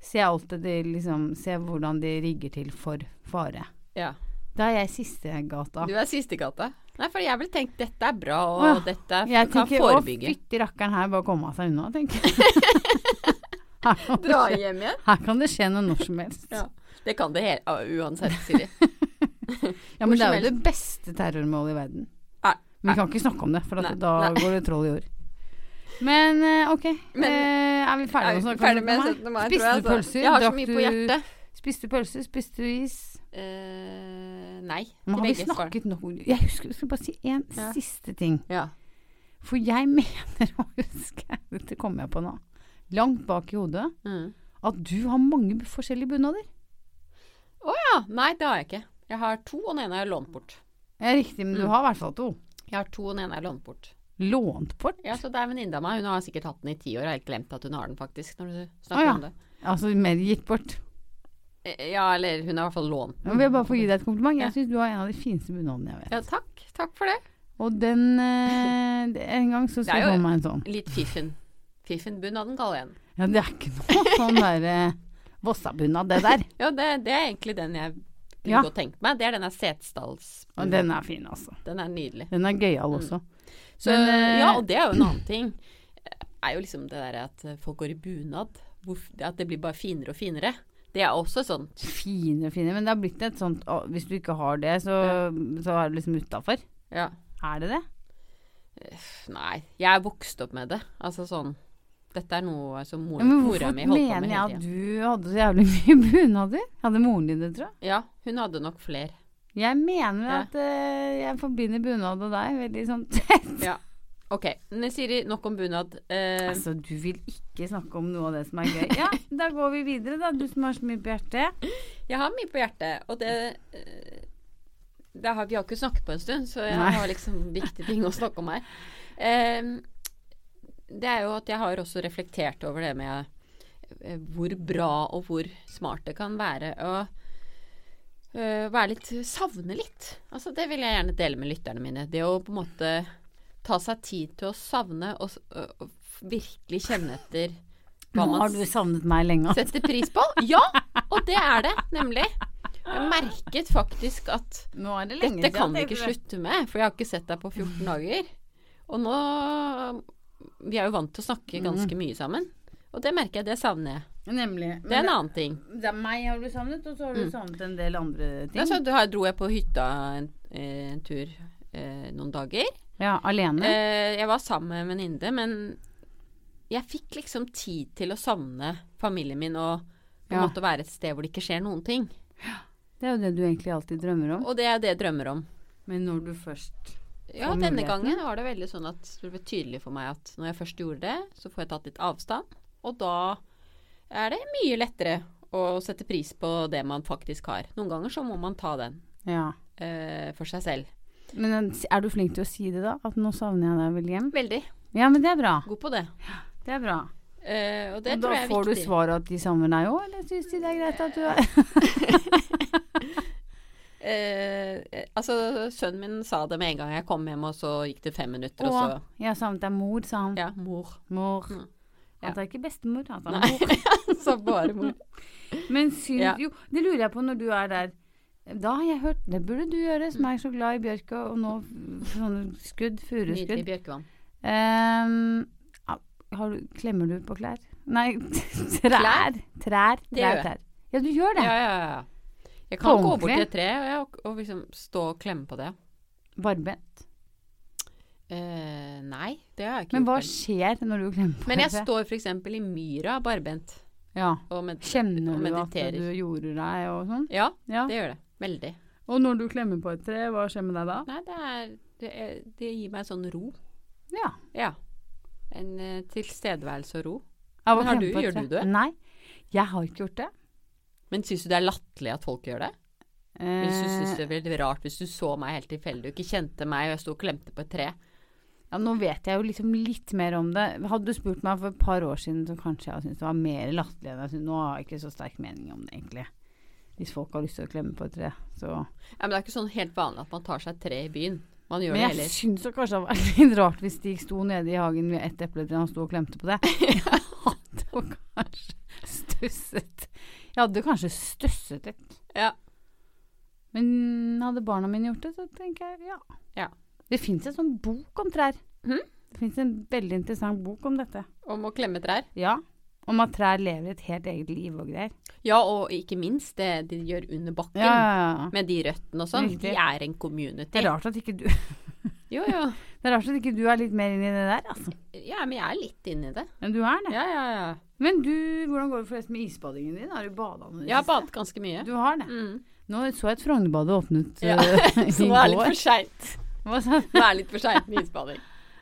Se alt det de liksom Se hvordan de rigger til for fare.
Ja.
Da er jeg siste gata.
Du er siste gata. Nei, for jeg ville tenkt dette er bra, og
Åh,
dette
Jeg
kan
tenker å
forebygge.
fytti rakkeren her, bare komme seg unna, tenker jeg. Her kan det
Dra
skje-
hjem igjen.
Her kan det skje noe når som helst.
Ja. Det kan det hele, ah, uansett, Siri.
Ja, men
Hvor
det
som
er jo det beste terrormålet i verden.
Nei,
Men vi kan ikke snakke om det, for at
Nei,
da
nei.
går det troll i jord. Men eh, ok,
Men-
Eh, er vi
Er
ferdige med
vi
å snakke
ferdig med
om 17.
17. mai, tror
Spiste
jeg.
du pølser?
Jeg har så
Drakk
mye
du-
på hjertet.
Spiste du pølser? Spiste du is?
Eh, nei.
Men
til
har vi
begge svarene.
snakket nok Jeg husker, jeg skal bare si en
Ja.
siste ting.
Ja.
For jeg mener å huske Dette kommer jeg på nå. Langt bak i hodet
Mm.
at du har mange forskjellige bunader.
ja. Nei, det har jeg ikke. Jeg har to, og den ene har jeg lånt bort.
Ja, riktig, men du
Mm.
har i hvert fall to.
Jeg har to, og den ene har jeg lånt bort.
Lånt bort?
Ja, så det er en venninne av meg. Hun har sikkert hatt den i ti år. Jeg har helt glemt at hun har den, faktisk, når du
Å,
snakker
ja.
om det.
Altså mer gitt bort.
Eh, Ja, eller hun har i hvert fall lånt
Jeg vil jeg bare få gi deg et kompliment.
Ja.
Jeg syns du har en av de fineste bunadene jeg vet.
Ja, takk. Takk for det.
Og den eh, det- En gang så
Det er
skulle
jo-
han meg en sånn.
Litt fiffen. Fiffenbunaden kaller jeg den.
Ja, det er ikke noe sånn derre Vossabunad, det der.
Ja, det, det er egentlig den jeg kunne
Ja.
godt tenkt meg. Det er denne Setesdals...
Og den er fin, altså.
Den er nydelig.
Den er gøyal også.
Mm. Så,
Men, eh,
ja, og det er jo en annen ting. Er jo liksom det derre at folk går i bunad. Hvorf- det At det blir bare finere og finere. Det er også sånn
Fine, fine. Men det har blitt et sånt å, Hvis du ikke har det, så, så er du liksom utafor.
Ja.
Er det det?
Nei, jeg er vokst opp med det. Altså sånn Dette er noe som mor,
Ja, men
mora
hvorfor
mi holdt på
mener
med
jeg
hele
at
tida.
du hadde så jævlig mye bunader? Hadde moren din det, tror jeg?
Ja, hun hadde nok flere.
Jeg mener
Ja.
at eh, jeg forbinder bunad og deg veldig sånn tett.
Ja. OK. Men Siri, nok om bunad. Eh,
Altså, du vil ikke snakke om noe av det som er gøy. Ja, da går vi videre, da. Du som har så mye på hjertet.
jeg har mye på hjertet, og det eh, det har, Vi har ikke snakket på en stund, så jeg
Nei.
har liksom viktige ting å snakke om her. Eh, det er jo at jeg har også reflektert over det med eh, hvor bra og hvor smart det kan være å eh, være litt savne litt. Altså, det vil jeg gjerne dele med lytterne mine. Det å på en måte ta seg tid til å savne og, s- og, og virkelig kjenne etter hva
Nå
man
har du savnet meg lenge. altså.
setter pris på. Ja, og det er det, nemlig. Jeg merket faktisk at
Nå er det lenge
dette kan vi
tenkte
ikke
jeg.
slutte med, for jeg har ikke sett deg på 14 dager. Og nå Vi er jo vant til å snakke ganske mye sammen. Og det merker jeg, det savner jeg.
Nemlig.
Det er
Men
en
det,
annen Mm. ting.
det er meg har du savnet, og så har du savnet en del andre ting.
Ja, så da dro jeg på hytta en, en tur eh, noen dager.
ja, alene.
Eh, jeg var sammen med en venninne, men jeg fikk liksom tid til å savne familien min og på en
Ja.
måte være et sted hvor det ikke skjer noen ting.
Det er jo det du egentlig alltid drømmer om.
Og det er det jeg drømmer om.
Men når du først
Ja,
Og
denne
muligheten.
gangen var det veldig sånn at det ble tydelig for meg at når jeg først gjorde det, så får jeg tatt litt avstand. Og da er det mye lettere å sette pris på det man faktisk har. Noen ganger så må man ta den
Ja.
eh, for seg selv.
Men eh, er du flink til å si det, da? At nå savner jeg deg, William?
Veldig
Ja, men det er bra.
god på det.
Det er bra.
Eh, og det
og da
tror jeg er
får du
viktig.
svar at de savner deg òg, eller syns de det er greit at du er
Eh, altså, sønnen min sa det med en gang jeg kom hjem, og så gikk det fem minutter, og så
Jeg har savnet deg, mor, sa han.
Ja, mor.
Mor.
Mm. Ja.
Han tar ikke bestemor, han tar
Nei.
mor.
så bare mor.
Men syns
Ja.
Jo, det lurer jeg på når du er der. Da har jeg hørt Det burde du gjøre,
Mm.
som er så glad i bjørk og, og nå f- sånne skudd,
Nydelig
furuskudd.
bjørkevann.
Ehm, ja, har du, klemmer du på klær? Nei, trær. Trær.
Det
Trær,
gjør jeg.
trær. Ja, du gjør det.
Ja, ja, ja. Jeg
På
kan gå bort
ordentlig?
til et tre og, jeg- og liksom stå og klemme på det.
Barbent.
Eh, nei, det har jeg ikke
Men hva
gjort. heller.
skjer når du klemmer på
Men jeg
det?
står f.eks. i myra barbent
Ja.
og med
Kjenner du
Og
at
mediterer.
du gjorde deg og sånn?
Ja,
Ja.
det gjør det. Veldig.
Og når du klemmer på et tre, hva skjer med deg da?
Nei, det er Det, er, det gir meg sånn ro.
Ja.
Ja. En eh, tilstedeværelse og ro.
Av
Men
å
har
klemme
du-
på et
gjør
tre.
du det?
Nei. Jeg har ikke gjort det.
Men syns du det er latterlig at folk gjør det? Hvis du syns
Eh,
det er veldig rart hvis du så meg helt tilfeldig og ikke kjente meg, og jeg sto og klemte på et tre.
ja, nå vet jeg jo liksom litt mer om det. Hadde du spurt meg for et par år siden, så kanskje jeg hadde syntes det var mer latterlig enn jeg syns. Nå har jeg ikke så sterk mening om det, egentlig. Hvis folk har lyst til å klemme på et tre, så
Ja, men det er ikke sånn helt vanlig at man tar seg et tre i byen. Man gjør
Men
det
jeg
heller.
syns jo kanskje det var litt rart hvis Stig sto nede i hagen ved ett eple til han sto og klemte på det. Jeg hadde jo kanskje stusset. Jeg hadde kanskje stusset litt.
Ja.
Men hadde barna mine gjort det, så tenker jeg ja.
Ja.
Det fins en sånn bok om trær.
Mhm.
Det fins en veldig interessant bok om dette.
Om å klemme trær.
Ja. Om at trær lever et helt eget liv og greier.
Ja, og ikke minst det de gjør under bakken. Med de røttene og sånn.
Riktig.
De er en community.
Det er rart at ikke du
Jo, jo.
Det er rart at ikke du er litt mer inni det der, altså.
Ja, men jeg er litt inni det.
Men du er det.
Ja, ja, ja.
Men du, hvordan går det forresten med isbadingen din? Har du bada nå? i det
Jeg har
siste?
badet ganske mye.
Du har det.
Mm.
Nå så jeg at Frognerbadet åpnet
Ja,
eh,
Så
i
nå er det litt
går.
for seint.
Hva sa
Nå er det litt for seint med isbading.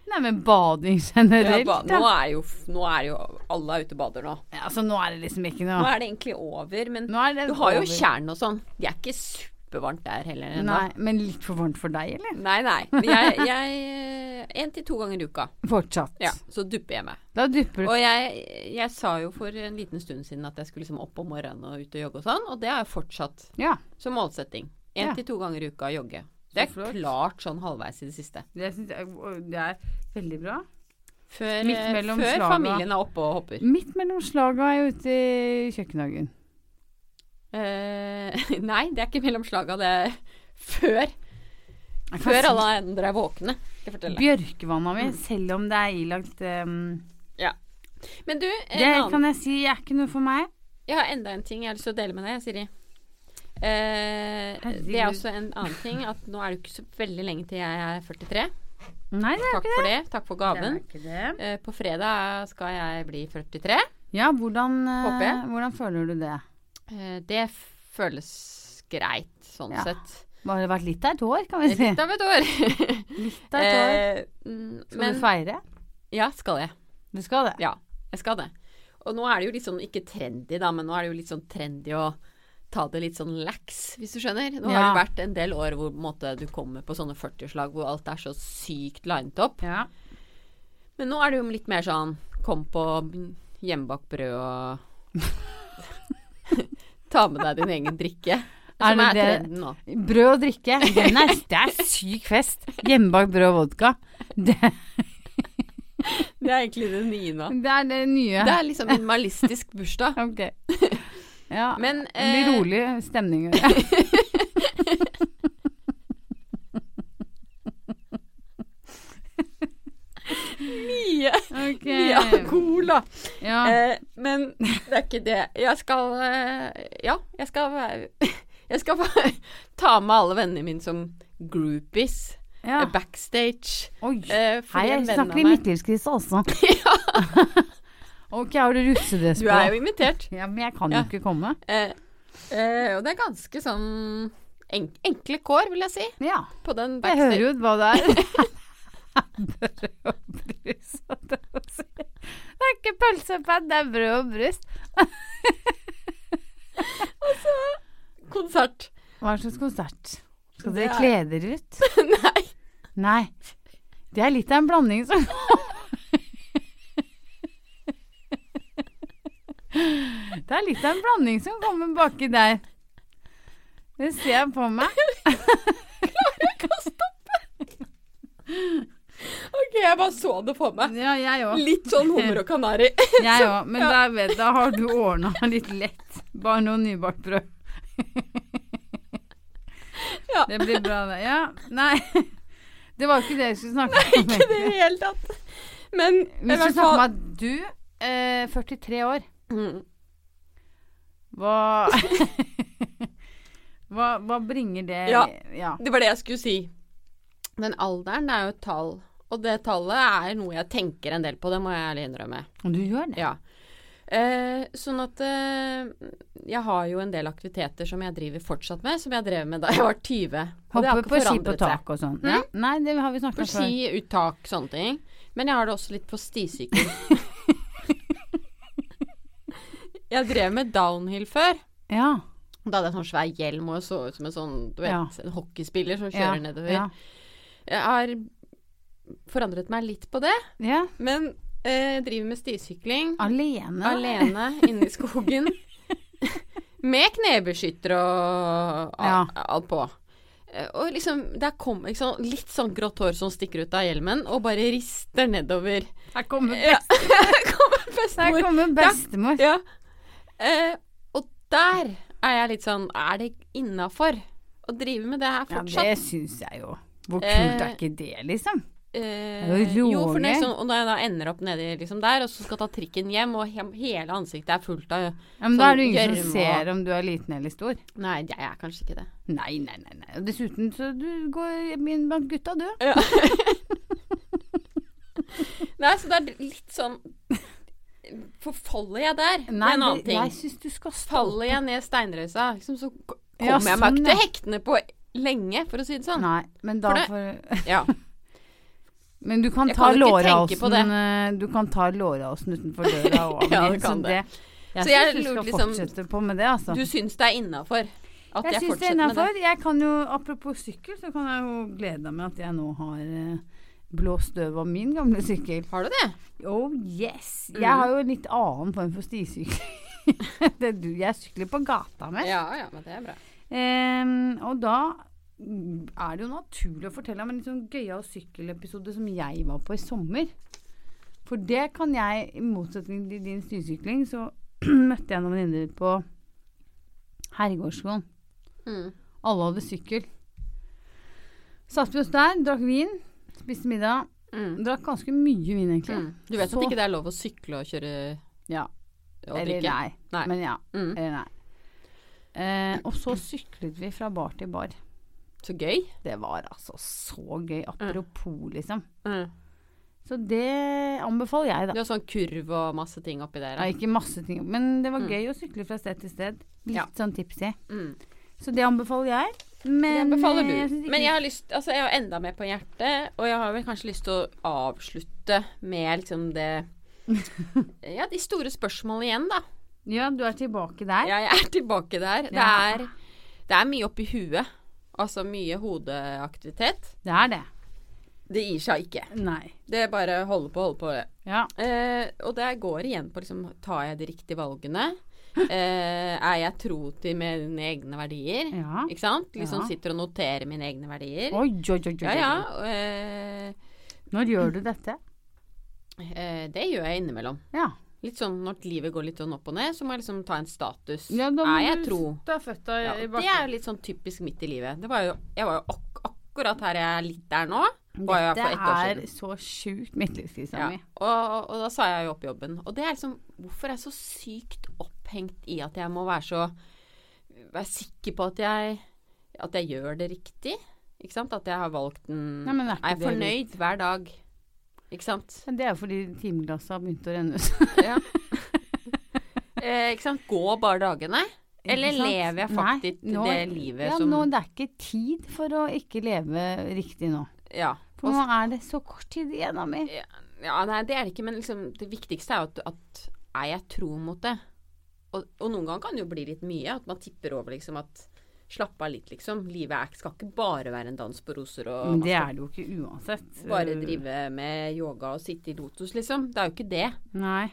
Nei, men bading
Ja,
generelt.
ba-
da.
nå, er jo, f- nå er jo alle er ute og bader nå.
Ja, altså, nå er det liksom ikke
Nå
noe
er det egentlig over, men
Nå er det
du har jo
over.
tjern og sånn. Det er ikke supervarmt der heller ennå.
Nei, men litt for varmt for deg, eller?
Nei, nei. Men Jeg, jeg eh, En til to ganger i uka.
Fortsatt.
Ja, så dupper jeg meg.
Da dupper det.
Og jeg, jeg sa jo for en liten stund siden at jeg skulle liksom opp om morgenen og ut og jogge og sånn, og det har jeg fortsatt
Ja.
som målsetting. Én
Ja.
til to ganger i uka jogge. Det er
Så flott.
klart sånn halvveis i det siste.
Det, synes jeg, og det er veldig bra.
Før,
Midt
eh,
mellom
før
slaga.
familien er oppe og hopper.
Midt mellom slaga er jeg ute i kjøkkenhagen.
Eh, nei, det er ikke mellom slaga, det er før.
Jeg kan
Før
si
alle andre er våkne. Skal jeg fortelle.
Bjørkevanna mi, selv om det er ilagt ehm,
Men du, en
Det
annen,
kan jeg si er ikke noe for meg.
jeg har enda en ting jeg har lyst til å dele med deg, Siri. Eh, det er
Herregud.
også en annen ting at nå er det ikke så veldig lenge til jeg er 43.
Nei, det er
Takk for det. Takk for gaven.
ikke det.
Eh, på fredag skal jeg bli 43.
Ja, hvordan, eh,
Håper jeg.
hvordan føler du det?
Eh, det føles greit, sånn
Ja.
sett.
Bare det vært litt av et år, kan vi si.
Litt av et år.
Litt av et år.
Eh, mm,
Skal
men
du feire?
Ja, skal jeg.
Du skal det?
Ja, jeg skal det. Og nå er det jo litt sånn, ikke trendy da, men nå er det jo litt sånn trendy å ta det litt sånn lax, hvis du skjønner. Nå har
Ja.
det vært en del år hvor på en måte, du kommer på sånne 40-slag hvor alt er så sykt linet opp.
Ja.
Men nå er det jo litt mer sånn kom på hjemmebakt brød og ta med deg din egen drikke. Som
det
er,
det-
trenden nå.
Brød og drikke. Den er, det er syk fest. Hjemmebakt brød og vodka. Det,
Det er egentlig det nye nå.
det er det nye.
Det er liksom minimalistisk bursdag.
Ok. Ja.
Men
det blir
eh,
rolig stemning.
mye,
Ok.
mye alkohol, da.
Ja.
Eh, men det er ikke det. Jeg skal eh, Ja, jeg skal være- Jeg skal bare ta med alle vennene mine som groupies.
ja.
eh, Backstage.
Oi.
Eh, fordi
Hei, jeg
en venn av
snakker i
meg-
midtlivskrise også. ok, har du russedress
Du
på?
er jo invitert.
Ja, men jeg kan
Ja.
jo ikke komme.
Eh, eh, og det er ganske sånn en, enkle kår, vil jeg si.
Ja.
På den
Jeg hører
backstage.
jo hva det er. Brød og brus, holdt jeg på å si. Det er ikke pølsepenn, det er brød og brus.
Konsert.
Hva slags konsert? Skal
Det
dere
er-
kle dere ut?
Nei.
Nei. Det er litt av en blanding som Det er litt av en blanding som kommer baki der. Det ser jeg på meg.
OK, jeg bare så det på meg.
Ja, jeg òg.
Litt sånn hummer og kanari.
Jeg òg. Men da, vet, da har du ordna litt lett. Bare noe nybakt brød.
Ja.
Det blir bra, det. Ja. Nei. Det var ikke det jeg skulle snakke om.
Ikke det i det hele tatt. Men
Vi skulle snakke om at du, eh, 43 år,
Mm.
hva Hva, hva bringer det
Ja.
ja.
Det var det jeg skulle si. Den alderen er jo et tall, og det tallet er noe jeg tenker en del på, det må jeg ærlig innrømme.
Og Du gjør det?
Ja. Eh, sånn at eh, jeg har jo en del aktiviteter som jeg driver fortsatt med, som jeg drev med da jeg var 20. Og det har
Hoppe
ikke
på ski på
forandret seg.
tak og sånn? Ja. Nei, det har vi snakket
På
om før.
ski, uttak, sånne ting. Men jeg har det også litt på stisykkel. jeg drev med downhill før.
Ja.
Da hadde jeg sånn svær hjelm og så ut som en sånn, du vet,
Ja.
en hockeyspiller som
ja.
kjører nedover.
Ja.
Jeg har forandret meg litt på det,
ja.
men eh, driver med stisykling
Alene?
alene inne i skogen. med knebeskytter og
Ja.
alt, alt på. Eh, Og liksom, der kom ikke sånn- litt sånn grått hår som stikker ut av hjelmen, og bare rister nedover.
Her kommer
Ja. Der kommer
Der
bestemor.
kommer bestemor.
Ja. Eh, og der er jeg litt sånn Er det innafor å drive med det her
Ja,
fortsatt?
det syns jeg jo. Hvor kult er
Eh,
ikke det, liksom?
Eh,
jo
jo, for når jeg,
rolig.
sånn, og når jeg da ender opp nedi liksom der, og så skal ta trikken hjem, og he hele ansiktet er fullt av
Ja, men da
sånn
er det ingen
gjørme
som
og-
ser om du er liten eller stor.
Nei, jeg er kanskje ikke det.
Nei, nei, nei. nei. Og dessuten så du går inn blant gutta, du.
Nei, så det er litt sånn Forfaller jeg der? det
Nei,
er en annen
det- jeg
ting.
syns du skal stå
Faller jeg ned steinrøysa, liksom, så ko- kommer
Ja,
jeg meg
sånn,
ikke
ja.
til hektene på lenge, for å si det sånn.
Nei, men da
For det-
får
Ja.
Men du kan
Jeg
ta
kan ikke tenke på
lårhalsen eh, Du kan ta lårhalsen utenfor døra og av
Ja,
og
du
til, så
kan
det. Jeg
Så jeg
syns du skal
lurte liksom-
fortsette på med det, altså.
Du syns det er innafor at jeg,
jeg syns det er
fortsetter med det?
innafor. Jeg kan jo, apropos sykkel, så kan jeg jo glede meg at jeg nå har eh, blåst støv av min gamle sykkel.
Har du det?
Oh yes!
Mm.
Jeg har jo en litt annen form for stisykling. det du, jeg sykler på gata med.
Ja, ja, men det er bra.
Ehm, og da er det jo naturlig å fortelle om en litt sånn gøyal sykkelepisode som jeg var på i sommer. For det kan jeg, i motsetning til din snøsykling, så møtte jeg noen venninner på Herregårdsskolen.
Mm.
Alle hadde sykkel. Satt vi oss der, drakk vin, spiste middag.
Mm.
Drakk ganske mye vin, egentlig.
Mm. Du vet
Så-
at ikke det er lov å sykle og kjøre
Ja.
Mm. og
Eller
drikke?
nei.
Nei.
Men ja.
Mm.
Eller nei. Eh, og så syklet vi fra bar til bar.
Så gøy.
Det var altså så gøy. Apropos, liksom.
Mm.
Så det anbefaler jeg, da.
Det er sånn kurv og masse ting oppi der.
Ja,
da.
ikke masse ting, men det var gøy å sykle fra sted til sted. Litt
Mm. Ja.
sånn tipsy.
Mm.
Så det anbefaler jeg. Men
Det befaler
eh, jeg
du.
synes ikke-
Men jeg har lyst Altså, jeg har enda mer på hjertet, og jeg har vel kanskje lyst til å avslutte med liksom det Ja, de store spørsmålene igjen, da.
Ja, du er tilbake der.
Jeg er tilbake der. Det
Ja.
er, det er mye oppi huet. Altså mye hodeaktivitet.
Det er det.
Det gir seg ikke.
Nei.
Det er bare å holde på, holde på.
Ja.
Eh, og det går igjen på liksom Tar jeg de riktige valgene? Eh, er jeg tro til mine egne verdier?
Ja.
Ikke sant? Liksom
Ja.
sitter og noterer mine egne verdier.
Oi, oi, oi, oi, oi.
Ja, ja. Eh,
Når gjør du dette?
eh, det gjør jeg innimellom.
Ja.
Litt sånn når livet går litt sånn opp og ned, så må jeg liksom ta en status.
ja da må
er jeg
du
tro?
Ta føtta i-
Ja,
i
og det
bakken.
er jo litt sånn typisk midt i livet. Det var jo, jeg var jo ak akkurat her jeg er litt der nå. Var jeg for ett år
Dette er
siden.
så sjukt midtlivskrisa
Ja.
mi.
Og, og da sa jeg jo opp jobben. Og det er liksom Hvorfor er jeg så sykt opphengt i at jeg må være så Være sikker på at jeg At jeg gjør det riktig? Ikke sant? At jeg har valgt den
Nei, men er ikke
Er jeg
det
fornøyd hver dag? Ikke sant?
Men Det er jo fordi timeglasset har begynt å renne ut.
Ja. eh, ikke sant? Gå bare dagene? Eller
Ikke sant?
lever jeg
Nei,
faktisk
nå-
det livet
ja,
som
nå, Det er ikke tid for å ikke leve riktig nå.
Ja.
For nå er det så kort tid igjen av meg.
Ja, ja, nei, det er det ikke, men liksom, det viktigste er jo at, at er jeg tro mot det? Og, og noen ganger kan det jo bli litt mye, at man tipper over liksom at Slapp av litt, liksom. Livet er, skal ikke bare være en dans på roser og
Men det
man
er det jo ikke uansett.
skal altså. bare drive med yoga og sitte i lotus, liksom. Det er jo ikke det.
Nei.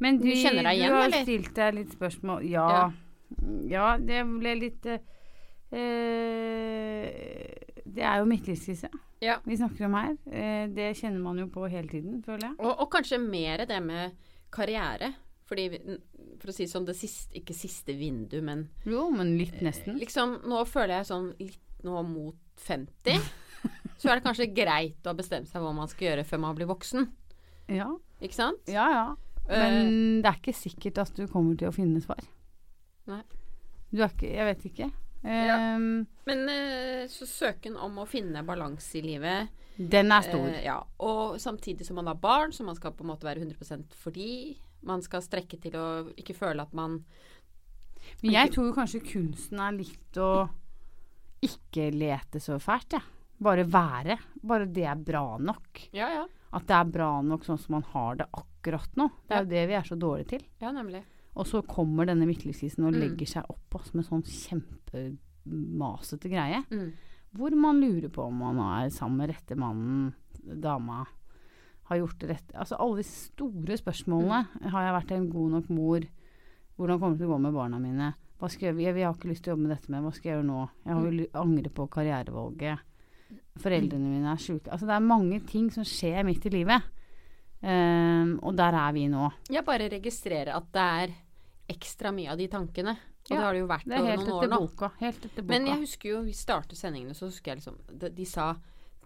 Men
Du
du,
kjenner deg igjen,
du har
eller?
stilt deg litt spørsmål. Ja.
Ja.
Ja, det ble litt eh, eh, Det er jo midtlivskrise
Ja.
vi snakker om her. Eh, det kjenner man jo på hele tiden, føler jeg.
Og, og kanskje mer det med karriere. Fordi, vi- for å si sånn, det siste Ikke siste vindu, men
Jo, men litt nesten.
liksom Nå føler jeg sånn litt nå mot 50. Så er det kanskje greit å bestemme seg hva man skal gjøre før man blir voksen.
Ja,
Ikke sant?
ja. ja. Men det er ikke sikkert at du kommer til å finne svar.
Eh, Nei.
Du er ikke Jeg vet ikke.
Ja.
Ehm,
Men eh, så søken om å finne balanse i livet
Den er stor.
eh, ja. Og samtidig som man har barn, så man skal på en måte være 100 fordi man skal strekke til å ikke føle at man
Men jeg tror jo kanskje kunsten er litt å ikke lete så fælt, jeg. Bare være. Bare det er bra nok.
Ja, ja.
At det er bra nok sånn som man har det akkurat nå. Det er jo det vi er så dårlige til.
Ja, nemlig.
Og så kommer denne midtlivskrisen og
Mm.
legger seg oppå som en sånn kjempemasete greie.
Mm.
Hvor man lurer på om man er sammen med rette mannen, dama, har gjort det rette Altså alle de store
Mm.
spørsmålene. Har jeg vært en god nok mor? Hvordan kommer det til å gå med barna mine? Hva skal jeg, jeg, jeg har ikke lyst til å jobbe med dette mer, hva skal jeg gjøre nå?
Mm.
Jeg vil angre på karrierevalget. Foreldrene
Mm.
mine er sjuke. Altså det er mange ting som skjer midt i livet. Ehm, og der er vi nå.
Jeg bare registrerer at det er ekstra mye av de tankene. Og
Ja,
det har det jo vært
Det er
over
helt
noen år
etter
nå.
boka. Helt etter boka.
Men jeg husker jo, vi startet sendingene, så husker jeg liksom De, de sa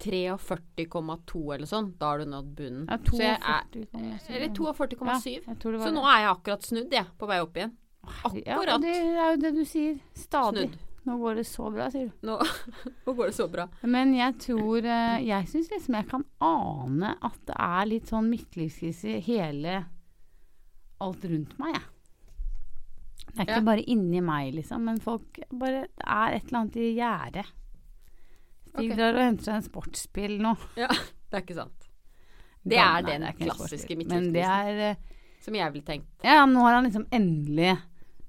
43,2 eller sånn. Da har du nådd bunnen.
ja,
så jeg er,
42,7.
eller 42,7.
Ja, jeg tror det var
så
det.
nå er jeg akkurat snudd, jeg. På vei opp igjen.
Ja, og
Akkurat
det er jo det du sier. Stadig.
snudd.
Nå går det så bra, sier du.
Nå, nå går det så bra.
Men jeg tror eh, Jeg syns liksom jeg kan ane at det er litt sånn midtlivskrise i hele alt rundt meg, jeg. Det er ikke
Ja.
bare inni meg, liksom, men folk bare Det er et eller annet i gjerdet. Stig
Ok.
drar og henter seg en sportsbil nå.
Ja, det er ikke sant. Det
Nei,
er den
ikke en
klassiske
sportsbil, Men det
midtlivskrisen.
er eh,
Som jeg ville tenkt.
Ja, nå har han liksom endelig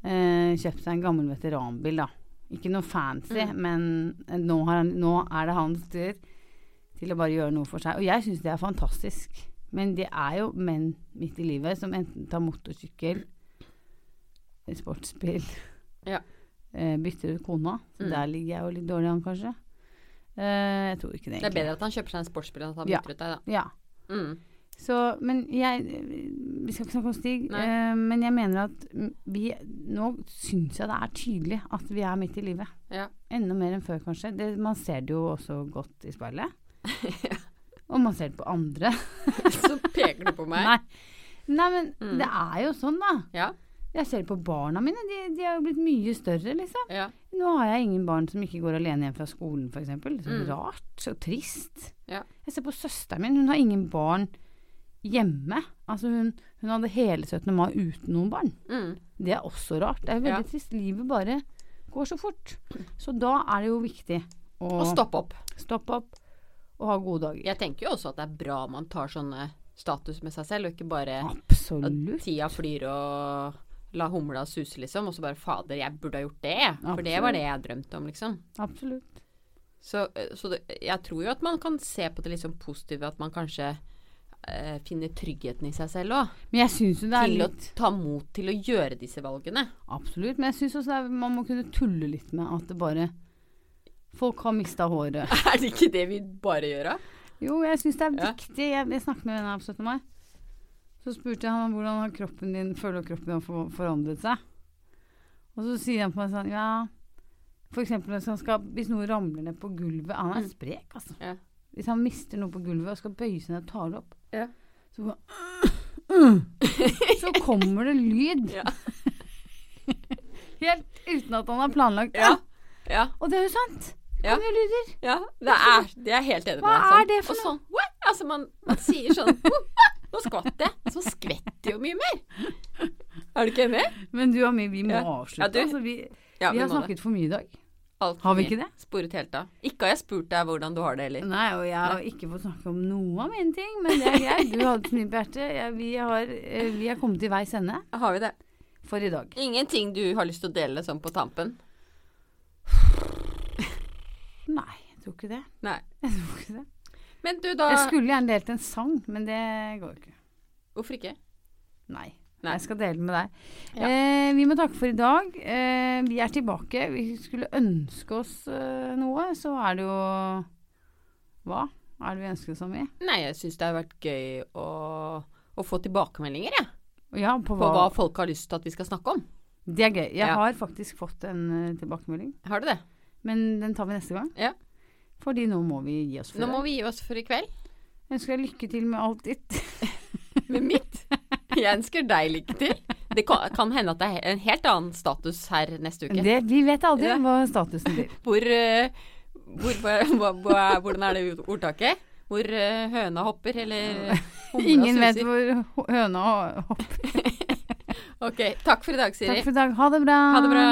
eh, kjøpt seg en gammel veteranbil, da. Ikke noe fancy,
Mm.
men eh, nå, har han, nå er det hans tur til å bare gjøre noe for seg. Og jeg syns det er fantastisk. Men det er jo menn midt i livet som enten tar motorsykkel, eh, sportsbil
Ja.
eh, eh, bytter ut kona. Så
Mm.
der ligger jeg jo litt dårlig an, kanskje. Eh, jeg tror ikke det,
Det er
egentlig.
bedre at han kjøper seg en sportsbil enn at han
Ja.
bytter ut deg, da.
Ja.
Mm.
Så, men jeg Vi skal ikke snakke om Stig,
Nei.
eh, men jeg mener at vi Nå syns jeg det er tydelig at vi er midt i livet.
Ja.
Enda mer enn før, kanskje. Det, man ser det jo også godt i speilet. Og man ser det på andre.
Så peker du på meg.
Nei. Nei, men
Mm.
det er jo sånn, da.
Ja,
Jeg ser det på barna mine. De, de er jo blitt mye større, liksom.
ja,
Nå har jeg ingen barn som ikke går alene hjem fra skolen, f.eks. Så
Mm.
rart og trist.
Ja.
Jeg ser på søsteren min. Hun har ingen barn hjemme. Altså, hun, hun hadde hele 17. mai uten noen barn.
mm.
Det er også rart. Det er veldig
Ja.
trist. Livet bare går så fort. Så da er det jo viktig å
Og stopp opp.
stoppe opp og ha gode dager.
Jeg tenker jo også at det er bra man tar sånne status med seg selv, og ikke bare
Absolutt.
tida flyr og la humla suse, liksom. Og så bare fader, jeg burde ha gjort det, jeg. for det var det jeg drømte om, liksom.
Absolutt.
Så, eh, så det, jeg tror jo at man kan se på det litt sånn positivt, at man kanskje eh, finner tryggheten i seg selv òg.
Men jeg syns jo det er
Til å
litt
ta mot til å gjøre disse valgene.
Absolutt, men jeg syns også det er, man må kunne tulle litt med at det bare Folk har mista håret.
Er det ikke det vi bare gjør, da?
Jo, jeg syns det er
Ja.
viktig. Jeg, jeg snakket med en venn her på 17. mai. Så spurte jeg ham om hvordan har kroppen din, føler du kroppen din har for- forandret seg. Og så sier han på meg sånn Ja, for eksempel hvis, han skal, hvis noe ramler ned på gulvet Han er
Mm.
sprek, altså.
Ja.
Hvis han mister noe på gulvet og skal bøye seg ned og ta det opp,
Ja.
så Så kommer det lyd.
Ja.
Helt uten at han har planlagt det.
Ja. ja.
Og det er jo sant.
Ja.
Kommer jo lyder.
Ja, det er, det er jeg helt enig med
Hva
deg.
er det for
og sånn, what? Altså, man, man sier sånn «Whoop, whoop», Nå skvatt jeg. Så skvetter jeg jo mye mer. Er du ikke enig?
Men du og meg, vi må
Ja.
avslutte.
Ja, du-
altså, vi,
Ja,
vi har snakket for mye i dag.
alt
Har vi ikke det?
Sporet helt av. Ikke har jeg spurt deg hvordan du har det heller.
Nei, og jeg har ikke fått snakke om noe av mine ting, men det er greit. Du hadde så mye på hjertet. Jeg- vi, har, eh, vi har kommet til veis ende
Har vi det?
for i dag.
Ingenting du har lyst til å dele sånn på tampen?
Nei, jeg tror ikke det.
Nei.
Jeg tror ikke det.
Men du, da
Jeg skulle gjerne delt en sang, men det går ikke.
Hvorfor ikke?
Nei.
Nei.
Jeg skal dele den med deg.
Ja.
Eh, vi må takke for i dag. Eh, vi er tilbake. Vi skulle ønske oss eh, noe, så er det jo Hva er det vi ønsker oss om i?
Nei, jeg syns det har vært gøy å, å få tilbakemeldinger, jeg.
Ja, på
På
hva,
hva folk har lyst til at vi skal snakke om.
Det er gøy. Jeg
Ja.
har faktisk fått en eh, tilbakemelding,
Har du det?
men den tar vi neste gang.
Ja.
Fordi nå må vi gi oss for
Nå må
det.
vi gi oss for i kveld.
Jeg ønsker deg lykke til med alt ditt.
med mitt. Jeg ønsker deg lykke til. Det kan, kan hende at det er en helt annen status her neste uke.
Det, vi vet aldri
Ja.
hva statusen blir.
Hvor, eh, hvor, hva, hva, hva, er- hvordan er det ordtaket? Hvor eh, høna hopper, eller humla
Ingen vet
suser.
hvor ho- høna hopper.
Ok, takk for i dag, Siri.
Takk for i dag. Ha det bra.
Ha det bra.